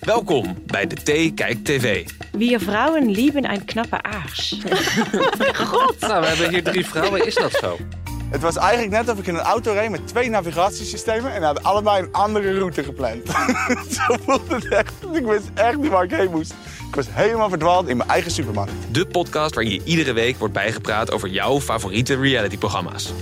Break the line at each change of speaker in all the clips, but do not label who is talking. Welkom bei de T Kijk TV.
Wir Frauen lieben ein knapper Aars.
Nou, we hebben hier drie vrouwen. Is dat zo?
Het was eigenlijk net of ik in een auto reed met twee navigatiesystemen en hadden allebei een andere route gepland. Zo voelde het echt. Ik wist echt niet waar ik heen moest. Ik was helemaal verdwaald in mijn eigen supermarkt.
De podcast waarin je iedere week wordt bijgepraat over jouw favoriete realityprogramma's.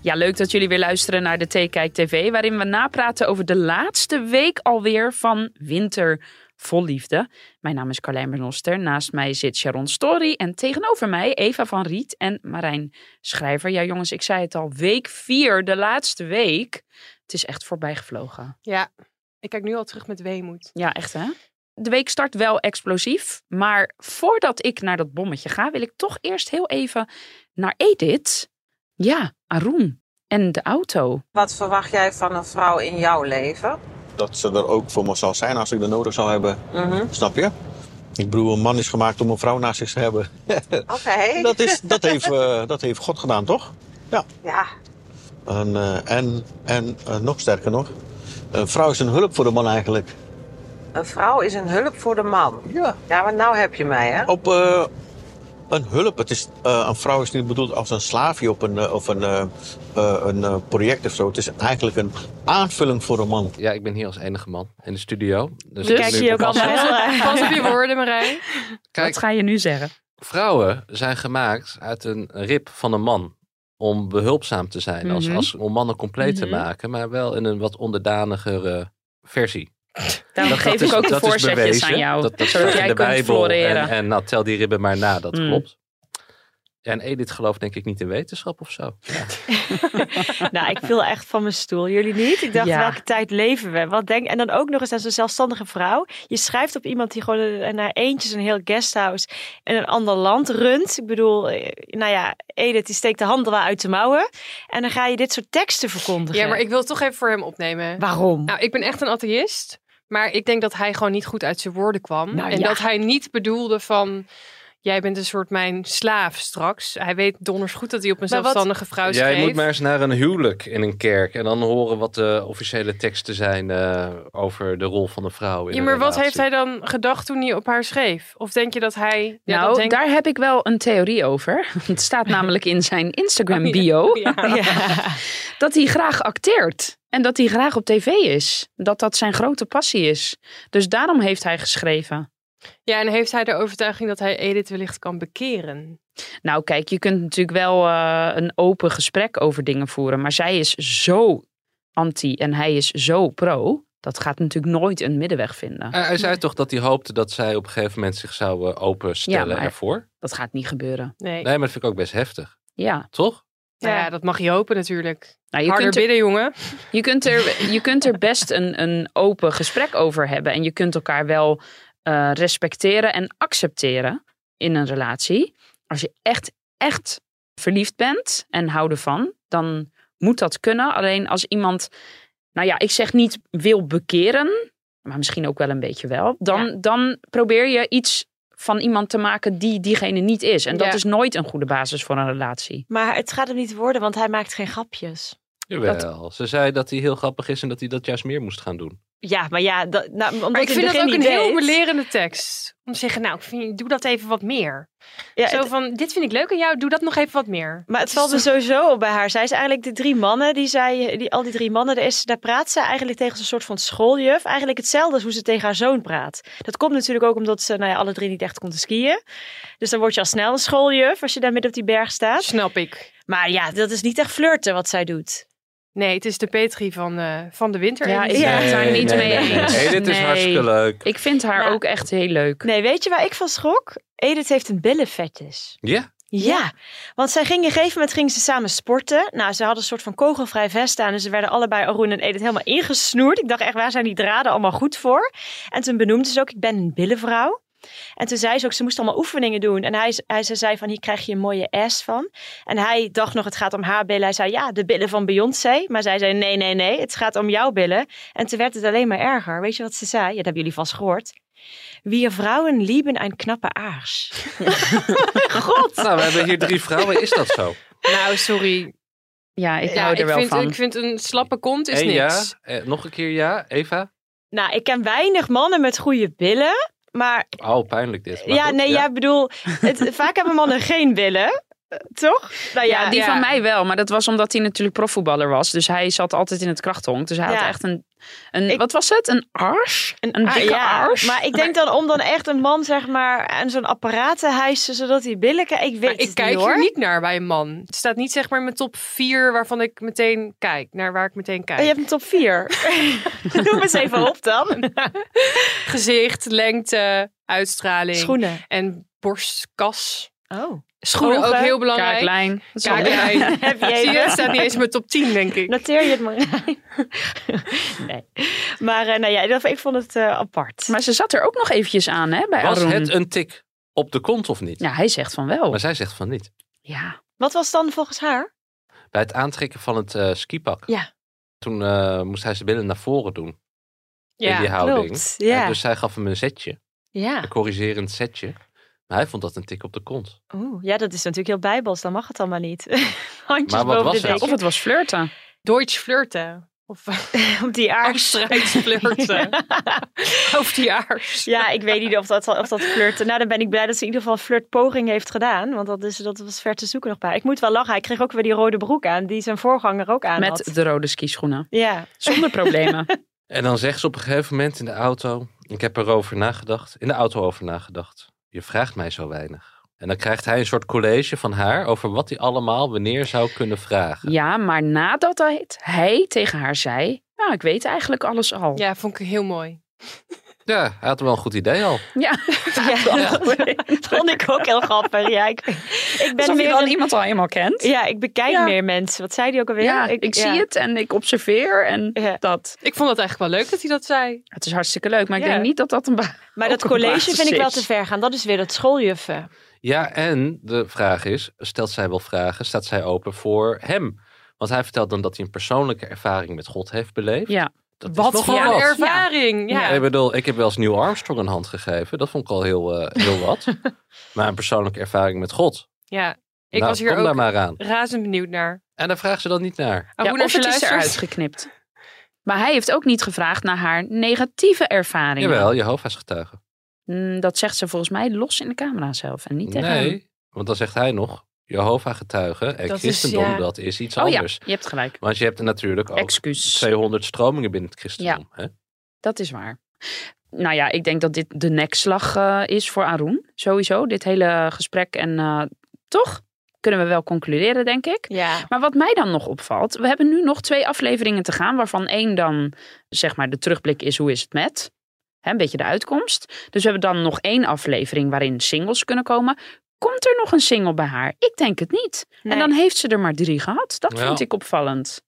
Ja, leuk dat jullie weer luisteren naar de Theekijk TV, waarin we napraten over de laatste week alweer van Winter Vol Liefde. Mijn naam is Carlijn Bernoster, naast mij zit Sharon Story en tegenover mij Eva van Riet en Marijn Schrijver. Ja jongens, ik zei het al, week 4, de laatste week. Het is echt voorbijgevlogen.
Ja, ik kijk nu al terug met weemoed.
Ja, echt hè? De week start wel explosief, maar voordat ik naar dat bommetje ga, wil ik toch eerst heel even naar Edith. Ja, Arun en de auto.
Wat verwacht jij van een vrouw in jouw leven?
dat ze er ook voor me zal zijn als ik er nodig zou hebben.
Mhm.
Snap je? Ik bedoel, een man is gemaakt om een vrouw naast zich te hebben.
Oké.
Dat, is, dat, heeft, eh, dat heeft God gedaan, toch?
Ja,
En, eh, en, en eh, nog sterker nog, een vrouw is een hulp voor de man eigenlijk.
een vrouw is een hulp voor de man.
Ja.
Ja, want nou heb je mij, hè?
Op eh, een hulp. Het is, eh, een vrouw is niet bedoeld als een slaafje op een, eh, of een, eh, eh, een eh, project of zo. Het is eigenlijk een aanvulling voor een man.
Ja, ik ben hier als enige man in de studio. Dus,
Dus-
ik
Kijk,
ben
zie je ook
pas-
al-
Pas op je woorden, Marijn.
Kijk,
Wat ga je nu zeggen?
vrouwen zijn gemaakt uit een rib van een man. Om behulpzaam te zijn. als,
Mhm.
als, om mannen compleet te
Mhm.
maken. Maar wel in een wat onderdanigere versie.
Daarom
Dat-
geef
dat is-
ik ook de
dat is
voorzetjes
bewezen.
aan jou.
Dat,
zodat
dat staat
jij
in de
kunt
Bijbel. En,
floreren.
en nou, tel die ribben maar na, dat
Mm.
klopt. Ja, en Edith gelooft denk ik niet in wetenschap of zo.
Oh,
Ja.
nou, ik viel echt van mijn stoel. Jullie niet? Ik dacht,
Ja.
welke tijd leven we? Wat denk... En dan ook nog eens aan zo'n zelfstandige vrouw. Je schrijft op iemand die gewoon een- naar eentjes een heel guesthouse in een ander land runt. Ik bedoel, eh, nou ja, Edith die steekt de handen wel uit de mouwen. En dan ga je dit soort teksten verkondigen.
Ja, maar ik wil het toch even voor hem opnemen.
Waarom?
Nou, ik ben echt een atheïst. Maar ik denk dat hij gewoon niet goed uit zijn woorden kwam.
Nou
en
ja.
dat hij niet bedoelde van... Jij bent een soort mijn slaaf straks. Hij weet donders goed dat hij op een
Maar wat-
zelfstandige vrouw schreef.
Jij moet maar eens naar een huwelijk in een kerk. En dan horen wat de officiële teksten zijn eh, over de rol van de vrouw. In
Ja,
een
maar wat
relatie.
heeft hij dan gedacht toen hij op haar schreef? Of denk je dat hij... Ja,
nou,
dat denk-
daar heb ik wel een theorie over. Het staat namelijk in zijn Instagram
Oh, ja.
bio
Ja.
Ja.
dat hij graag acteert. En dat hij graag op tv is. Dat dat zijn grote passie is. Dus daarom heeft hij geschreven.
ja, en heeft hij de overtuiging dat hij Edith wellicht kan bekeren?
Nou, kijk, je kunt natuurlijk wel eh, een open gesprek over dingen voeren. Maar zij is zo anti en hij is zo pro. Dat gaat natuurlijk nooit een middenweg vinden.
Eh, Hij, hij zei toch dat hij hoopte dat zij op een gegeven moment zich zou eh, openstellen
Ja, maar-
ervoor?
Dat gaat niet gebeuren.
Nee.
Nee, maar dat vind ik ook best heftig.
Ja.
Toch?
Nou ja, dat mag je hopen natuurlijk.
Nou, je
Harder
kunt er
bidden, jongen.
Je kunt er, je kunt er best een, een open gesprek over hebben. En je kunt elkaar wel eh, respecteren en accepteren in een relatie. Als je echt, echt verliefd bent en houden van, dan moet dat kunnen. Alleen als iemand, nou ja, ik zeg niet wil bekeren, maar misschien ook wel een beetje wel. Dan, dan probeer je iets van iemand te maken die diegene niet is. En dat
Ja.
is nooit een goede basis voor een relatie.
Maar het gaat hem niet worden, want hij maakt geen grapjes.
Jawel. Ze zei dat hij heel grappig is en dat hij dat juist meer moest gaan doen.
Ja, maar ja, dat, nou, omdat
Maar ik
hij
vind
het
dat ook
begin
een
niet
heel
deed.
belerende tekst. Om te zeggen, nou, ik vind, doe dat even wat meer.
Ja,
Zo
het-
van, dit vind ik leuk aan jou, doe dat nog even wat meer.
Maar het dus valt me sowieso op bij haar. Zij is eigenlijk de drie mannen die zij, die, al die drie mannen, daar, is, daar praat ze eigenlijk tegen zo'n soort van schooljuf. Eigenlijk hetzelfde als hoe ze tegen haar zoon praat. Dat komt natuurlijk ook omdat ze, nou ja, alle drie niet echt kon te skiën. Dus dan word je al snel een schooljuf als je daar midden op die berg staat.
Snap ik.
Maar ja, dat is niet echt flirten wat zij doet.
Nee, het is de Petri van, eh, van de winter.
Ja, ik
Ja.
ben het daar niet
nee,
mee
nee, nee.
eens.
Edith is
Nee.
hartstikke leuk.
Ik vind haar
Nou,
ook echt heel leuk.
Nee, weet je waar ik van schrok? Edith heeft een billenvetjes.
Ja,
Ja, want zij gingen op een gegeven moment gingen ze samen sporten. Nou, ze hadden een soort van kogelvrij vest aan. En ze werden allebei, Arun en Edith, helemaal ingesnoerd. Ik dacht echt, waar zijn die draden allemaal goed voor? En toen benoemde ze ook, ik ben een billenvrouw. En toen zei ze ook, ze moest allemaal oefeningen doen. En hij, hij ze zei van, hier krijg je een mooie ass van. En hij dacht nog, het gaat om haar billen. Hij zei, ja, de billen van Beyoncé. Maar zij zei, nee, nee, nee, het gaat om jouw billen. En toen werd het alleen maar erger. Weet je wat ze zei? Ja, dat hebben jullie vast gehoord. Wie vrouwen lieben, een knappe aars.
nou, we hebben hier drie vrouwen. Is dat zo?
Nou, sorry.
Ja, ik
Ja,
hou er wel
vind,
van.
Ik vind een slappe kont is
en
niks.
ja, eh, nog een keer ja, Eva.
Nou, ik ken weinig mannen met goede billen. Maar
Oh, pijnlijk dit. maar
ja,
goed,
nee, ja, bedoel, het, vaak hebben mannen geen billen, eh, toch? Nou ja,
Ja, die
ja.
van mij wel. Maar dat was omdat hij natuurlijk profvoetballer was. Dus hij zat altijd in het krachthonk. Dus hij had
Ja.
echt een... een
Ik-
wat was het? Een ars? Een,
Ah,
dikke ars?
Maar ik denk dan om dan echt een man, zeg maar, aan zo'n apparaat te hijsen, zodat hij billen kijkt. Ik weet
Maar
het
ik kijk
niet, hoor.
er niet naar bij een man. Het staat niet zeg maar in mijn top 4 waarvan ik meteen kijk. Naar waar ik meteen kijk.
Oh, je hebt een top 4. Noem eens even op dan.
Gezicht, lengte, uitstraling.
Schoenen.
En borstkas.
Oh.
Schoenen
Ogen.
ook heel belangrijk.
Kaaklijn. Dat is wel-
Kaaklijn.
Heb je
Zie je, het
even.
staat niet eens in mijn top 10, denk ik.
Noteer je het maar. nee. Maar eh, nou ja, dat- ik vond het eh, apart.
Maar ze zat er ook nog eventjes aan, hè? Bij
Was
Arun.
het een tik op de kont of niet?
Ja, hij zegt van wel.
Maar zij zegt van niet.
Ja.
Wat was dan volgens haar?
Bij het aantrekken van het eh, skipak.
Ja.
Toen eh, moest hij zijn billen naar voren doen. in die houding.
klopt, ja.
En dus zij gaf hem een zetje.
Ja.
Een corrigerend zetje. Maar hij vond dat een tik op de kont.
Oeh, ja, dat is natuurlijk heel bijbels. Dan mag het allemaal niet. Handjes
Maar wat
boven
was
de
het?
deken.
Of het was flirten.
Deutsch flirten. Of
Op die aars.
Oostenrijks flirten. Over die aars.
Ja, ik weet niet of dat, of dat flirt. Nou, dan ben ik blij dat ze in ieder geval een flirtpoging heeft gedaan. Want dat, is, dat was ver te zoeken nog bij. Ik moet wel lachen. Hij kreeg ook weer die rode broek aan. Die zijn voorganger ook aan
Met
had.
de rode skischoenen.
Ja.
Zonder problemen.
En dan zegt ze op een gegeven moment in de auto. Ik heb erover nagedacht. In de auto over nagedacht. Je vraagt mij zo weinig. En dan krijgt hij een soort college van haar over wat hij allemaal wanneer zou kunnen vragen.
ja, maar nadat hij, hij tegen haar zei... Nou, ik weet eigenlijk alles al.
Ja, vond ik heel mooi.
Ja, hij had wel een goed idee al.
Ja.
ja. Vond ik ook heel grappig. Ja, ik, ik ben
Alsof je
weer
dan
een-
iemand al helemaal kent.
Ja, ik bekijk
Ja.
meer mensen. Wat zei die ook alweer?
Ja, ik,
ja.
zie het en ik observeer en
Ja.
dat.
Ik vond het eigenlijk wel leuk dat hij dat zei.
Het is hartstikke leuk, maar ik
Ja.
denk niet dat dat een... ba-
Maar
Ook
dat
een
college
basis
vind ik wel
is.
te ver gaan. Dat is weer dat schooljuffen.
Ja, en de vraag is, stelt zij wel vragen, staat zij open voor hem? Want hij vertelt dan dat hij een persoonlijke ervaring met God heeft beleefd.
Ja.
Dat is
Wat
nogal
voor een
wat.
ervaring. Ja.
Ik bedoel, ik heb wel eens Neil Armstrong een hand gegeven. Dat vond ik al heel, eh, heel wat. maar een persoonlijke ervaring met God.
Ja. Ik
Nou,
was hier
kom daar
ook
maar aan.
razend benieuwd naar. Oh,
En daar vraagt ze dan niet naar.
Ja,
Arun,
of
als Oh,
het is
je luistert.
eruit geknipt. Maar hij heeft ook niet gevraagd naar haar negatieve ervaringen.
Jawel, Jehovah's getuige.
Mm, Dat zegt ze volgens mij los in de camera zelf en niet tegen hem.
Nee, want dan zegt hij nog, Jehovah getuigen en
Dat is,
christendom,
ja.
dat is iets
Oh ja,
anders. Oh.
je hebt gelijk.
Want je hebt natuurlijk ook
Excuus.
200 stromingen binnen het christendom. Hè?
Dat is waar. Nou ja, ik denk dat dit de nekslag eh, is voor Arun. Sowieso, dit hele gesprek. En eh, toch kunnen we wel concluderen, denk ik.
Ja.
Maar wat mij dan nog opvalt, we hebben nu nog twee afleveringen te gaan, waarvan één dan zeg maar de terugblik is hoe is het met, Hè, een beetje de uitkomst. Dus we hebben dan nog één aflevering waarin singles kunnen komen. Komt er nog een single bij haar? Ik denk het niet. En dan heeft ze er maar drie gehad. Dat
Ja.
vond ik opvallend.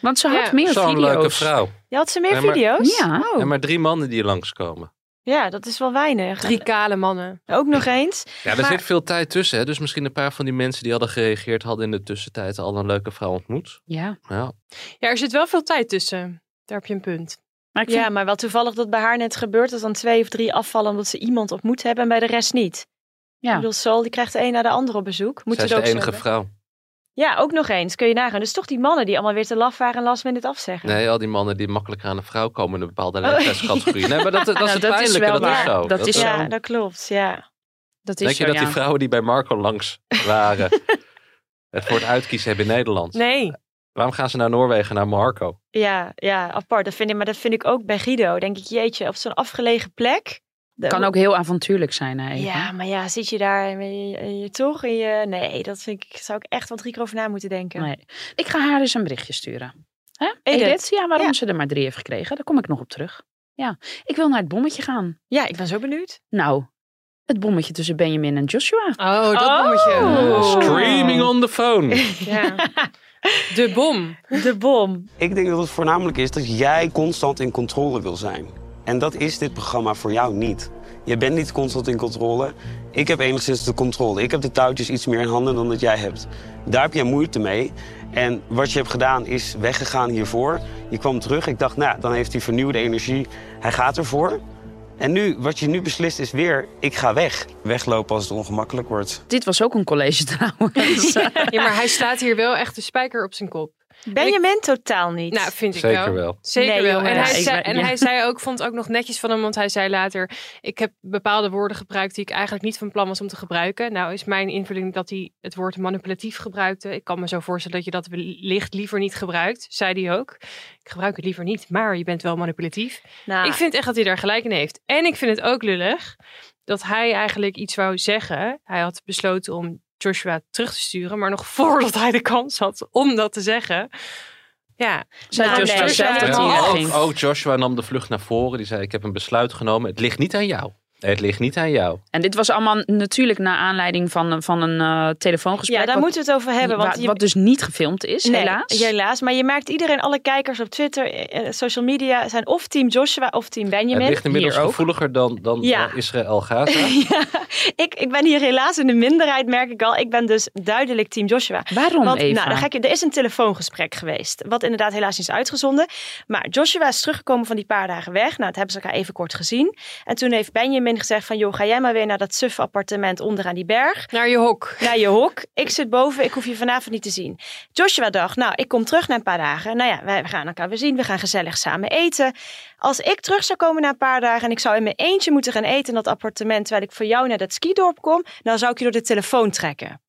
Want ze had
Ja.
meer
Zo'n
video's.
leuke vrouw.
Je had ze meer
Ja, maar-
video's?
Ja.
Oh.
En maar drie mannen die langskomen.
ja, dat is wel weinig.
Drie kale mannen.
Ook nog eens.
Ja, er
Maar-
zit veel tijd tussen. Hè? Dus misschien een paar van die mensen die hadden gereageerd... hadden in de tussentijd al een leuke vrouw ontmoet.
Ja,
Ja,
Ja, er zit wel veel tijd tussen. Daar heb je een punt.
maar ik vind
Ja, maar wel toevallig dat bij haar net gebeurt dat dan twee of drie afvallen omdat ze iemand ontmoet hebben en bij de rest niet.
Ja.
Ik bedoel, Sol die krijgt de een na de andere op bezoek. Moet
zij
je
is
het
de
ook zo
enige
hebben?
vrouw.
Ja, ook nog eens. Kun je nagaan. Dus toch die mannen die allemaal weer te laf waren en last minute afzeggen.
Nee, al die mannen die makkelijker aan een vrouw komen... in een bepaalde
Oh.
leeftijdscategorie. Nee, maar dat, dat is
Nou,
het
dat is wel
pijnlijke. dat
waar.
is zo.
Dat is
eh,
zo.
ja, dat klopt. Ja.
dat is
Denk
zo,
je dat die
ja.
vrouwen die bij Marco langs waren... het voor het uitkiezen hebben in Nederland?
Nee.
Waarom gaan ze naar Noorwegen, naar Marco?
Ja, ja, apart. Dat vind ik, maar dat vind ik ook bij Guido. Denk ik, jeetje, op zo'n afgelegen plek. De-
kan ook heel avontuurlijk zijn. Hè, Eva.
Ja, maar ja, zit je daar met je, je toch? En je, nee, dat vind ik, zou ik echt wel drie keer over na moeten denken.
Nee. Ik ga haar eens een berichtje sturen. Hè?
Edith.
Edith? ja, waarom
Ja.
ze er maar drie heeft gekregen. Daar kom ik nog op terug. Ja, ik wil naar het bommetje gaan.
Ja, ik ben zo benieuwd.
Nou, het bommetje tussen Benjamin en Joshua.
Oh, dat
Oh.
bommetje.
Oh.
Streaming on the phone.
Ja. De bom.
De bom.
Ik denk dat het voornamelijk is dat jij constant in controle wil zijn. En dat is dit programma voor jou niet. Je bent niet constant in controle. Ik heb enigszins de controle. Ik heb de touwtjes iets meer in handen dan dat jij hebt. Daar heb jij moeite mee. En wat je hebt gedaan is weggegaan hiervoor. Je kwam terug. Ik dacht, nou, dan heeft hij vernieuwde energie. Hij gaat ervoor. En nu, wat je nu beslist is weer, ik ga weg. Weglopen als het ongemakkelijk wordt.
Dit was ook een college trouwens.
Ja, maar hij slaat hier wel echt de spijker op zijn kop.
Benjamin totaal niet.
Nou, vind ik
Zeker
wel.
wel.
Zeker
Nee,
wel.
jongen.
En, hij
Ja, ik
zei,
ben-
en
ja.
hij zei ook, vond het ook nog netjes van hem, want hij zei later: Ik heb bepaalde woorden gebruikt die ik eigenlijk niet van plan was om te gebruiken. Nou, is mijn invulling dat hij het woord manipulatief gebruikte. Ik kan me zo voorstellen dat je dat wellicht liever niet gebruikt, zei hij ook. Ik gebruik het liever niet, maar je bent wel manipulatief.
Nou,
Ik vind echt dat hij daar gelijk in heeft. En ik vind het ook lullig dat hij eigenlijk iets wou zeggen. Hij had besloten om Joshua terug te sturen, maar nog voordat hij de kans had om dat te zeggen. Ja,
Zij
Nou,
Joshua
nee,
zelf
zij-
dat hij
Ja.
wegging.
Ook, ook Oh, Joshua nam de vlucht naar voren. Die zei, ik heb een besluit genomen. Het ligt niet aan jou. Het ligt niet aan jou.
En dit was allemaal natuurlijk naar aanleiding van, een- van een eh, telefoongesprek.
ja, daar
wat-
moeten we het over hebben. Want
wa-
je-
wat dus niet gefilmd is,
Nee,
helaas.
helaas. Maar je merkt iedereen, alle kijkers op Twitter, eh, eh, social media, zijn of team Joshua of team
het
Benjamin.
ligt inmiddels
hier ook.
gevoeliger dan, dan
Ja.
eh, Israël-Gaza.
Ja, ik, ik ben hier helaas in de minderheid, merk ik al. Ik ben dus duidelijk team Joshua.
Waarom
Want,
even?
Nou, dan ga ik je, er is een telefoongesprek geweest. Wat inderdaad helaas niet is uitgezonden. Maar Joshua is teruggekomen van die paar dagen weg. Nou, dat hebben ze elkaar even kort gezien. En toen heeft Benjamin gezegd van... joh, ga jij maar weer naar dat suffe appartement onderaan die berg.
naar je hok.
Naar je hok. Ik zit boven. Ik hoef je vanavond niet te zien. Joshua dacht, nou, ik kom terug na een paar dagen. Nou ja, wij we gaan elkaar weer zien. We gaan gezellig samen eten. Als ik terug zou komen na een paar dagen... en ik zou in mijn eentje moeten gaan eten in dat appartement... terwijl ik voor jou naar dat skidorp kom... dan zou ik je door de telefoon trekken.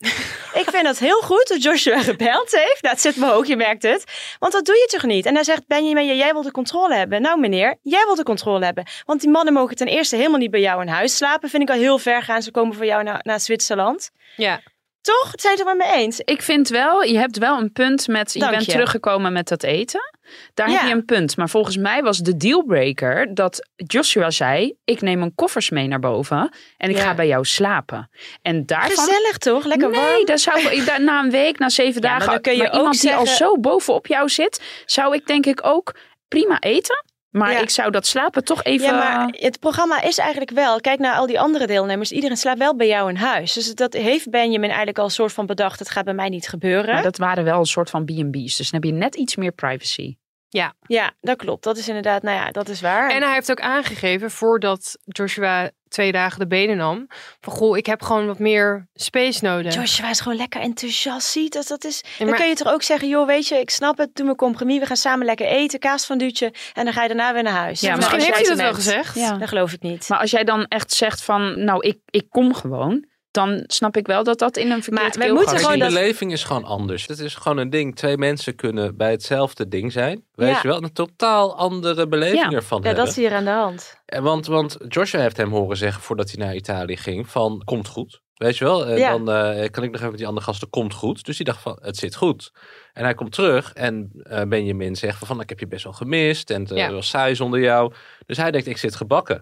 Ik vind dat heel goed dat Joshua gebeld heeft. Dat zit me ook, je merkt het. Want dat doe je toch niet? En hij zegt, Benjamin, jij wil de controle hebben. Nou meneer, jij wil de controle hebben. Want die mannen mogen ten eerste helemaal niet bij jou in huis slapen. Vind ik al heel ver gaan. Ze komen voor jou naar, naar Zwitserland.
Ja,
Toch? Het zijn het er maar mee eens.
Ik vind wel, je hebt wel een punt met. Je
Dank
bent
je.
teruggekomen met dat eten. Daar
Ja.
heb je een punt. Maar volgens mij was de dealbreaker dat Joshua zei: Ik neem mijn koffers mee naar boven en ik
Ja.
ga bij jou slapen. En daarvan.
Gezellig toch? Lekker warm.
Nee, daar zou ik daar- na een week, na zeven
Ja, maar
dagen.
dan kun je
maar
ook
iemand die al
zeggen-
zo bovenop jou zit, zou ik denk ik ook prima eten. Maar
Ja.
ik zou dat slapen toch even.
Ja, maar het programma is eigenlijk wel. Kijk naar al die andere deelnemers. Iedereen slaapt wel bij jou in huis. Dus dat heeft Benjamin eigenlijk al een soort van bedacht. Het gaat bij mij niet gebeuren.
Maar dat waren wel een soort van B&B's. Dus dan heb je net iets meer privacy.
Ja, dat klopt. Dat is inderdaad, nou ja, dat is waar.
en hij heeft ook aangegeven voordat Joshua twee dagen de benen nam. Van goh, ik heb gewoon wat meer space nodig.
Joshua is gewoon lekker enthousiast. Ziet dat dat is. Dan
maar-
kun je toch ook zeggen: joh, weet je, ik snap het. Doe mijn compromis. We gaan samen lekker eten. Kaas van duwtje. En dan ga je daarna weer naar huis.
Ja, maar
Misschien
als
heeft
jij
hij dat
het
wel
bent.
gezegd.
Ja.
Dat geloof ik niet.
Maar als jij dan echt zegt van, nou, ik, ik kom gewoon. Dan snap ik wel dat dat in een verkeerd
wij
keelgat
moeten
is.
gewoon
Kijk,
dat-
die beleving is gewoon anders. Het is gewoon een ding. Twee mensen kunnen bij hetzelfde ding zijn. Weet
Ja.
je wel? Een totaal andere beleving
Ja.
ervan
Ja,
hebben.
dat is hier aan de hand.
En Want, want Joshua heeft hem horen zeggen voordat hij naar Italië ging van komt goed. Weet je wel, En
Ja.
dan eh, kan ik nog even met die andere gasten, komt goed. Dus die dacht van, het zit goed. En hij komt terug en eh, Benjamin zegt van, ik heb je best wel gemist. En het eh,
Ja.
was saai zonder jou. Dus hij denkt, ik zit gebakken.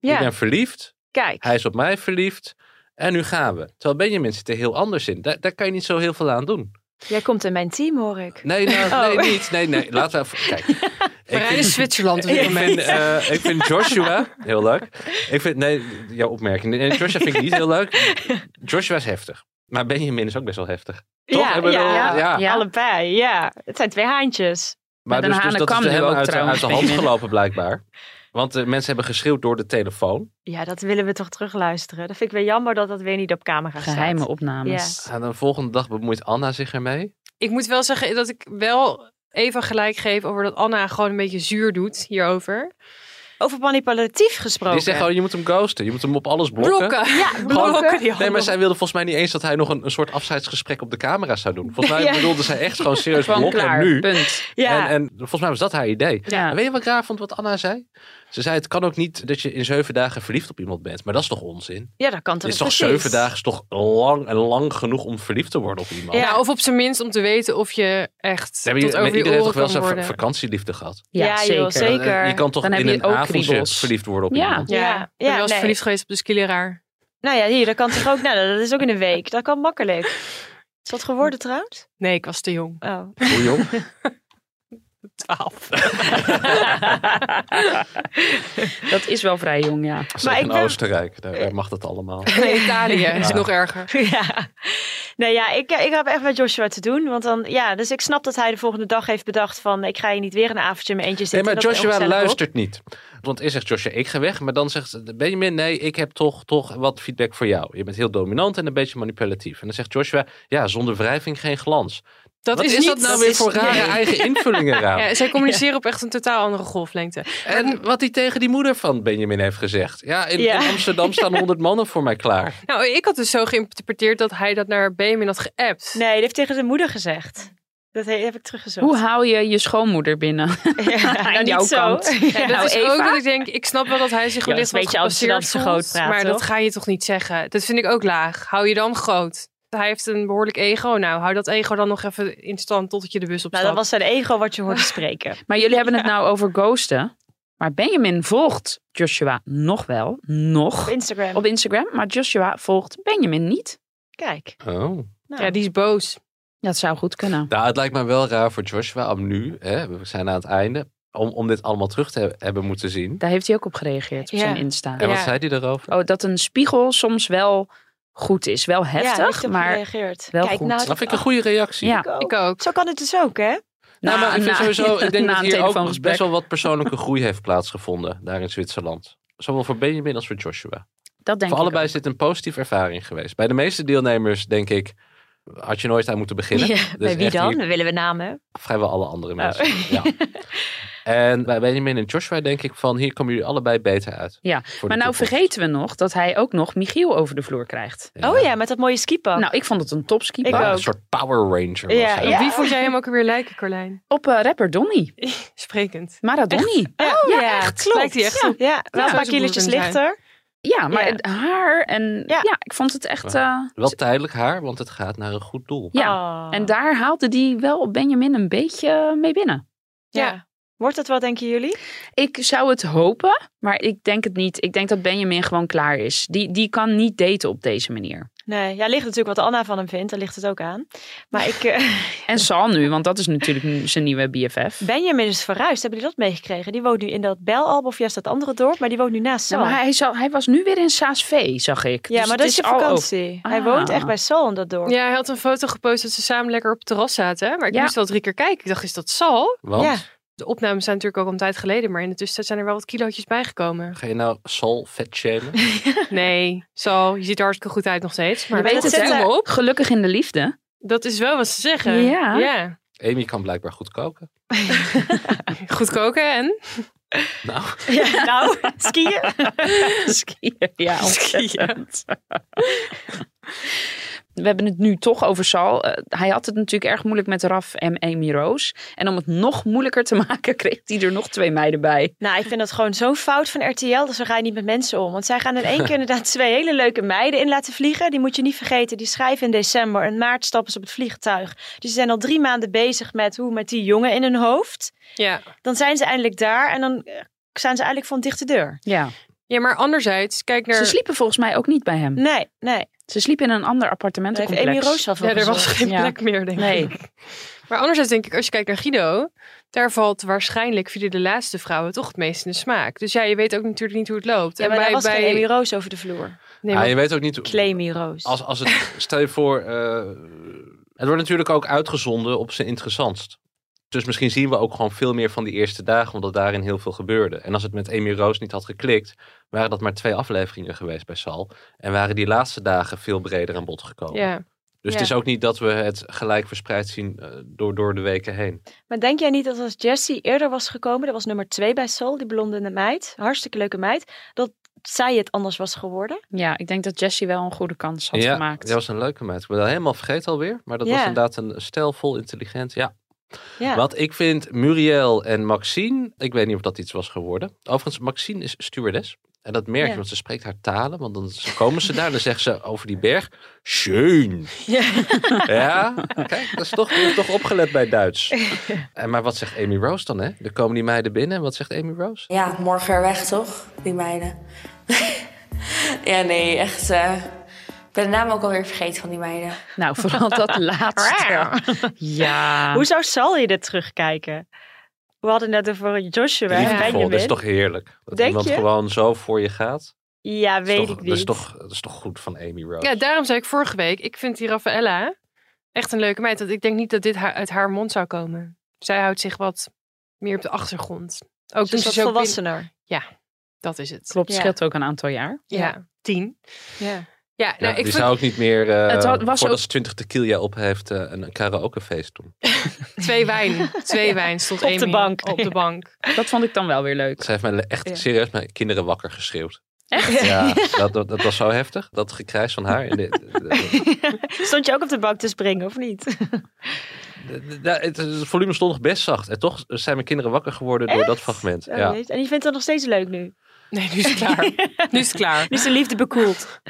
Ik
Ja,
ben verliefd,
kijk.
hij is op mij verliefd. En nu gaan we. Terwijl Benjamin zit er heel anders in. Daar, daar kan je niet zo heel veel aan doen.
Jij komt in mijn team, hoor ik.
Nee, nou,
Oh.
nee, niet. Nee, nee. Laten we even... Kijk,
We
ik
rijden
vind-
Zwitserland dus op dit
ik
moment.
vind, eh, ik vind Joshua heel leuk. Ik vind, nee, jouw opmerking. Nee, Joshua vind ik niet heel leuk. Joshua is heftig. Maar Benjamin is ook best wel heftig. Toch?
Ja,
Ik bedoel,
ja,
ja.
Ja.
allebei. Ja, het zijn twee haantjes.
Maar
Den
dus, dus
Hanen
dat is
kwam
de
nu
helemaal
ook
uit, de- uit
trouwens,
de hand
Benjamin.
gelopen blijkbaar. Want de mensen hebben geschreeuwd door de telefoon.
Ja, dat willen we toch terugluisteren. Dat vind ik weer jammer dat dat weer niet op camera staat.
Geheime opnames.
En de volgende dag bemoeit Anna zich ermee.
Ik moet wel zeggen dat ik wel even gelijk geef over dat Anna gewoon een beetje zuur doet hierover.
Over manipulatief gesproken.
Die zegt gewoon, je moet hem ghosten. Je moet hem op alles blokken.
Blokken. Ja,
blokken.
die
Nee, maar
handen.
zij wilde volgens mij niet eens dat hij nog een, een soort afscheidsgesprek op de camera zou doen. Volgens mij
Ja.
bedoelde zij echt gewoon serieus
Gewoon
blokken
klaar,
nu.
punt.
Ja,
En, eh, en volgens mij was dat haar idee.
Ja.
En weet je wat ik raar vond wat Anna zei? Ze zei, het kan ook niet dat je in zeven dagen verliefd op iemand bent. Maar dat is toch onzin?
ja dat kan toch
Het is toch
precies.
zeven dagen is toch lang en lang genoeg om verliefd te worden op iemand?
Ja, Nou, of op zijn minst om te weten of je echt
Ze hebben
tot
hier-
over je
iedereen
oren
heeft toch wel
kan
zijn va-
worden.
vakantieliefde gehad?
Ja,
Ja,
zeker.
joh, zeker.
Je kan toch
Dan heb
in
je
een
ook
avondje
kriebels.
verliefd worden op
Ja.
iemand?
Ja,
Ja,
ik
ja,
ben wel eens
nee.
verliefd geweest op de skileraar.
Nou ja, hier, dat kan toch ook. Nou, dat is ook in een week. Dat kan makkelijk. Is dat geworden trouwens?
Nee, ik was te jong.
Oh.
Hoe jong?
twaalf.
Dat is wel vrij jong, ja.
Maar
ik
in
ben-
Oostenrijk, daar, daar mag dat allemaal.
Nee, Italië is nog erger.
Ja. Nee, ja, ik, eh, ik heb echt met Joshua te doen. Want dan, ja, dus ik snap dat hij de volgende dag heeft bedacht van... ik ga hier niet weer een avondje in mijn eentje
Nee,
zitten.
maar
Dat is heel
Joshua
gezellig op.
luistert niet. Want eerst zegt Joshua, ik ga weg. Maar dan zegt Benjamin, nee, ik heb toch, toch wat feedback voor jou. Je bent heel dominant en een beetje manipulatief. En dan zegt Joshua, ja, zonder wrijving geen glans.
Dat
wat
is,
is,
niet,
dat nou weer
is-
voor rare
nee.
eigen invullingen raam?
Oh.
Ja, zij communiceren op echt een totaal andere golflengte.
En wat hij tegen die moeder van Benjamin heeft gezegd. Ja, in,
Ja.
in Amsterdam staan honderd mannen voor mij klaar.
Nou, ik had dus zo geïnterpreteerd dat hij dat naar Benjamin had geappt.
Nee, dat heeft tegen zijn moeder gezegd. Dat he- heb ik teruggezocht.
Hoe hou je je schoonmoeder binnen?
Ja, nou,
aan jouw kant?
Ja.
Dat
Nou,
is
Eva?
ook dat ik denk, ik snap wel dat hij zich
Ja,
wellicht
dat is een
wat
beetje
gepasseerd
Amsterdamse
voelt,
grootpraat,
Maar dat
toch?
ga je toch niet zeggen? Dat vind ik ook laag. Hou je dan groot. Hij heeft een behoorlijk ego. Nou, hou dat ego dan nog even in stand totdat je de bus opstapt.
Nou, dat was zijn ego wat je hoorde spreken.
Maar jullie hebben het nou over ghosten. Maar Benjamin volgt Joshua nog wel.
Op
Nog.
Instagram.
Op Instagram. Maar Joshua volgt Benjamin niet.
Kijk.
Oh.
Nou.
Ja, die is boos.
Dat zou goed kunnen.
Nou, het lijkt me wel raar voor Joshua om nu, hè, we zijn aan het einde, om, om dit allemaal terug te he- hebben moeten zien.
Daar heeft hij ook op gereageerd op
Ja.
zijn Insta.
En wat
Ja.
zei hij daarover?
Oh, dat een spiegel soms wel goed is. Wel
ja, hij
heftig,
heeft erop
maar...
gereageerd.
wel
Kijk,
goed.
Nou,
Dat vind ik een goede reactie.
Ja.
ook.
Ik ook.
Zo kan het dus ook, hè?
Nou, maar ik vind
na-
sowieso, ik denk
na
dat
een
hier ook
telefoongesprek.
best wel wat persoonlijke groei heeft plaatsgevonden daar in Zwitserland. Zowel voor Benjamin als voor Joshua.
Dat denk
voor
ik
allebei is dit een positieve ervaring geweest. Bij de meeste deelnemers, denk ik, had je nooit aan moeten beginnen. Dus
bij wie
echt
dan?
hier
Dan willen we namen.
vrijwel alle
Oh.
andere mensen. Ja. En bij Benjamin en Joshua denk ik van, hier komen jullie allebei beter uit.
Ja,
Voor de
Maar nou
toekomst.
vergeten we nog dat hij ook nog Michiel over de vloer krijgt.
Oh ja, met dat mooie skipak.
Nou, ik vond het een topski.
Ik
Ja,
ook.
Een soort Power Ranger was
Ja,
hij.
ja.
Wie vond jij hem ook weer lijken, Carlijn?
Op eh, rapper Donny.
Sprekend.
Maradoni.
oh, ja, echt. Klopt.
Lijkt hij echt
ja.
op-
Ja, wel een
zou
paar
zijn broer
kilootjes
kunnen zijn.
lichter.
Ja, maar
Ja.
het haar en
Ja.
ja. ik vond het echt... eh,
Wel tijdelijk haar, want het gaat naar een goed doel.
ja,
Oh.
eh, en daar haalde die wel Benjamin een beetje mee binnen.
Ja.
Ja.
Wordt dat wat, denken jullie?
Ik zou het hopen, maar ik denk het niet. Ik denk dat Benjamin gewoon klaar is. Die, die kan niet daten op deze manier.
Nee, ja, ligt natuurlijk wat Anna van hem vindt. Daar ligt het ook aan. Maar ik, eh,
En Sal nu, want dat is natuurlijk nu zijn nieuwe BFF.
Benjamin is verhuisd. Hebben jullie dat meegekregen? Die woont nu in dat Belalb of juist dat andere dorp. Maar die woont nu naast Sal.
Nou, maar hij, zal, hij was nu weer in Saasvee, zag ik.
ja,
Dus
maar
het
dat is je
al over.
vakantie. Hij
Ah.
woont echt bij Sal in dat dorp.
Ja, hij had een foto gepost dat ze samen lekker op het terras zaten. hè? Maar ik
Ja.
moest wel drie keer kijken. Ik dacht, is dat Sal?
Want,
Ja.
De opnames zijn natuurlijk ook al een tijd geleden. Maar in de tussentijd zijn er wel wat kilootjes bijgekomen.
ga je nou Sol vet shamen?
Nee, Sal, je ziet er hartstikke goed uit nog steeds. Maar
Je
Maar
weet
weet
dat
het
zet
hè?
hij-
op. Gelukkig in de liefde.
dat is wel wat ze zeggen.
Ja.
ja.
Amy kan blijkbaar goed koken.
Goed koken en?
Nou,
Ja, nou, skiën.
Skiën, ja. ontzettend. We hebben het nu toch over Sal. Eh, hij had het natuurlijk erg moeilijk met Raf en Amy Roos. En om het nog moeilijker te maken, kreeg hij er nog twee meiden bij.
Nou, ik vind dat gewoon zo'n fout van RTL. Dus zo ga je niet met mensen om. Want zij gaan in één keer inderdaad twee hele leuke meiden in laten vliegen. Die moet je niet vergeten. Die schrijven in december. En maart stappen ze op het vliegtuig. Dus ze zijn al drie maanden bezig met hoe met die jongen in hun hoofd.
Ja.
Dan zijn ze eindelijk daar. En dan eh, zijn ze eigenlijk van dichte deur.
Ja.
Ja, maar anderzijds, kijk naar...
Ze sliepen volgens mij ook niet bij hem.
Nee, nee.
Ze sliepen in Hm. een ander
Daar
appartementencomplex.
heeft Amy Roos wel voor
ja, er was
gezorgd.
geen
ja.
plek meer, denk
Nee.
ik. Maar anderzijds denk ik, als je kijkt naar Guido... daar valt waarschijnlijk via de laatste vrouwen toch het meest in de smaak. Dus ja, je weet ook natuurlijk niet hoe het loopt.
Ja, maar daar was geen Amy Roos over de vloer.
nee,
ah,
maar-
je weet ook niet...
Claymy Roos.
Als, als het, stel je voor, eh, het wordt natuurlijk ook uitgezonden op zijn interessantst. Dus misschien zien we ook gewoon veel meer van die eerste dagen, omdat daarin heel veel gebeurde. En als het met Amy Roos niet had geklikt, waren dat maar twee afleveringen geweest bij Sal. En waren die laatste dagen veel breder aan bod gekomen.
ja.
Dus
Ja.
het is ook niet dat we het gelijk verspreid zien eh, door, door de weken heen.
Maar denk jij niet dat als Jessie eerder was gekomen, dat was nummer twee bij Sol, die blonde meid, hartstikke leuke meid, dat zij het anders was geworden?
Ja, ik denk dat Jessie wel een goede kans had
ja,
gemaakt.
dat was een leuke meid. Ik ben dat helemaal vergeten alweer. Maar dat
Ja.
was inderdaad een stijlvol, intelligent. Ja.
Ja.
Wat ik vind, Muriel en Maxine, ik weet niet of dat iets was geworden. Overigens, Maxine is stewardess. En dat merk je,
Ja.
want ze spreekt haar talen. Want dan komen ze daar en dan zegt ze over die berg, schön. Ja, kijk, dat is toch, je hebt toch opgelet bij Duits. En, maar wat zegt Amy Rose dan, hè? Er komen die meiden binnen en wat zegt Amy Rose?
Ja, morgen er weg, toch? Die meiden. ja, nee, echt. eh, ik ben de naam ook alweer vergeten van die meiden.
Nou, vooral dat laatste. Ja.
Hoe zou Sal je dit terugkijken? We hadden net over Joshua en
Liefdevol,
Benjamin.
dat is toch heerlijk? Dat
Denk
iemand
je?
gewoon zo voor je gaat.
Ja,
Dat is
weet
toch-
ik
Dat
niet.
is, toch, dat is toch goed van Amy Rose?
Ja, daarom zei ik vorige week, ik vind die Raffaella echt een leuke meid. Want ik denk niet dat dit haar, uit haar mond zou komen. Zij houdt zich wat meer op de achtergrond. Ook
Ze is
toen ze
wat
zo binnen-
volwassener.
Dat is het.
Klopt,
Ja.
scheelt ook een aantal jaar.
Ja. Tien.
Ja.
Ja, nou,
Ja,
ik
die
vind
zou ook niet meer, eh,
Het had- was
voordat
ook-
ze 20 tequila op heeft, eh, een karaokefeest doen.
twee wijn. Twee wijn stond
Op
Amy
de bank.
Op de bank.
Dat vond ik dan wel weer leuk.
Ze heeft mij echt
Ja.
serieus mijn kinderen wakker geschreeuwd. Echt? Ja, dat, dat, dat was zo heftig. Dat gekrijs van haar. En dit-
Stond je ook op de bank te springen, of niet?
Ja, het, het volume stond nog best zacht. En toch zijn mijn kinderen wakker geworden door dat fragment.
Oh,
ja.
jeet. En je vindt dat nog steeds leuk nu?
Nee, nu is het klaar. nu is het klaar.
Nu is de liefde bekoeld.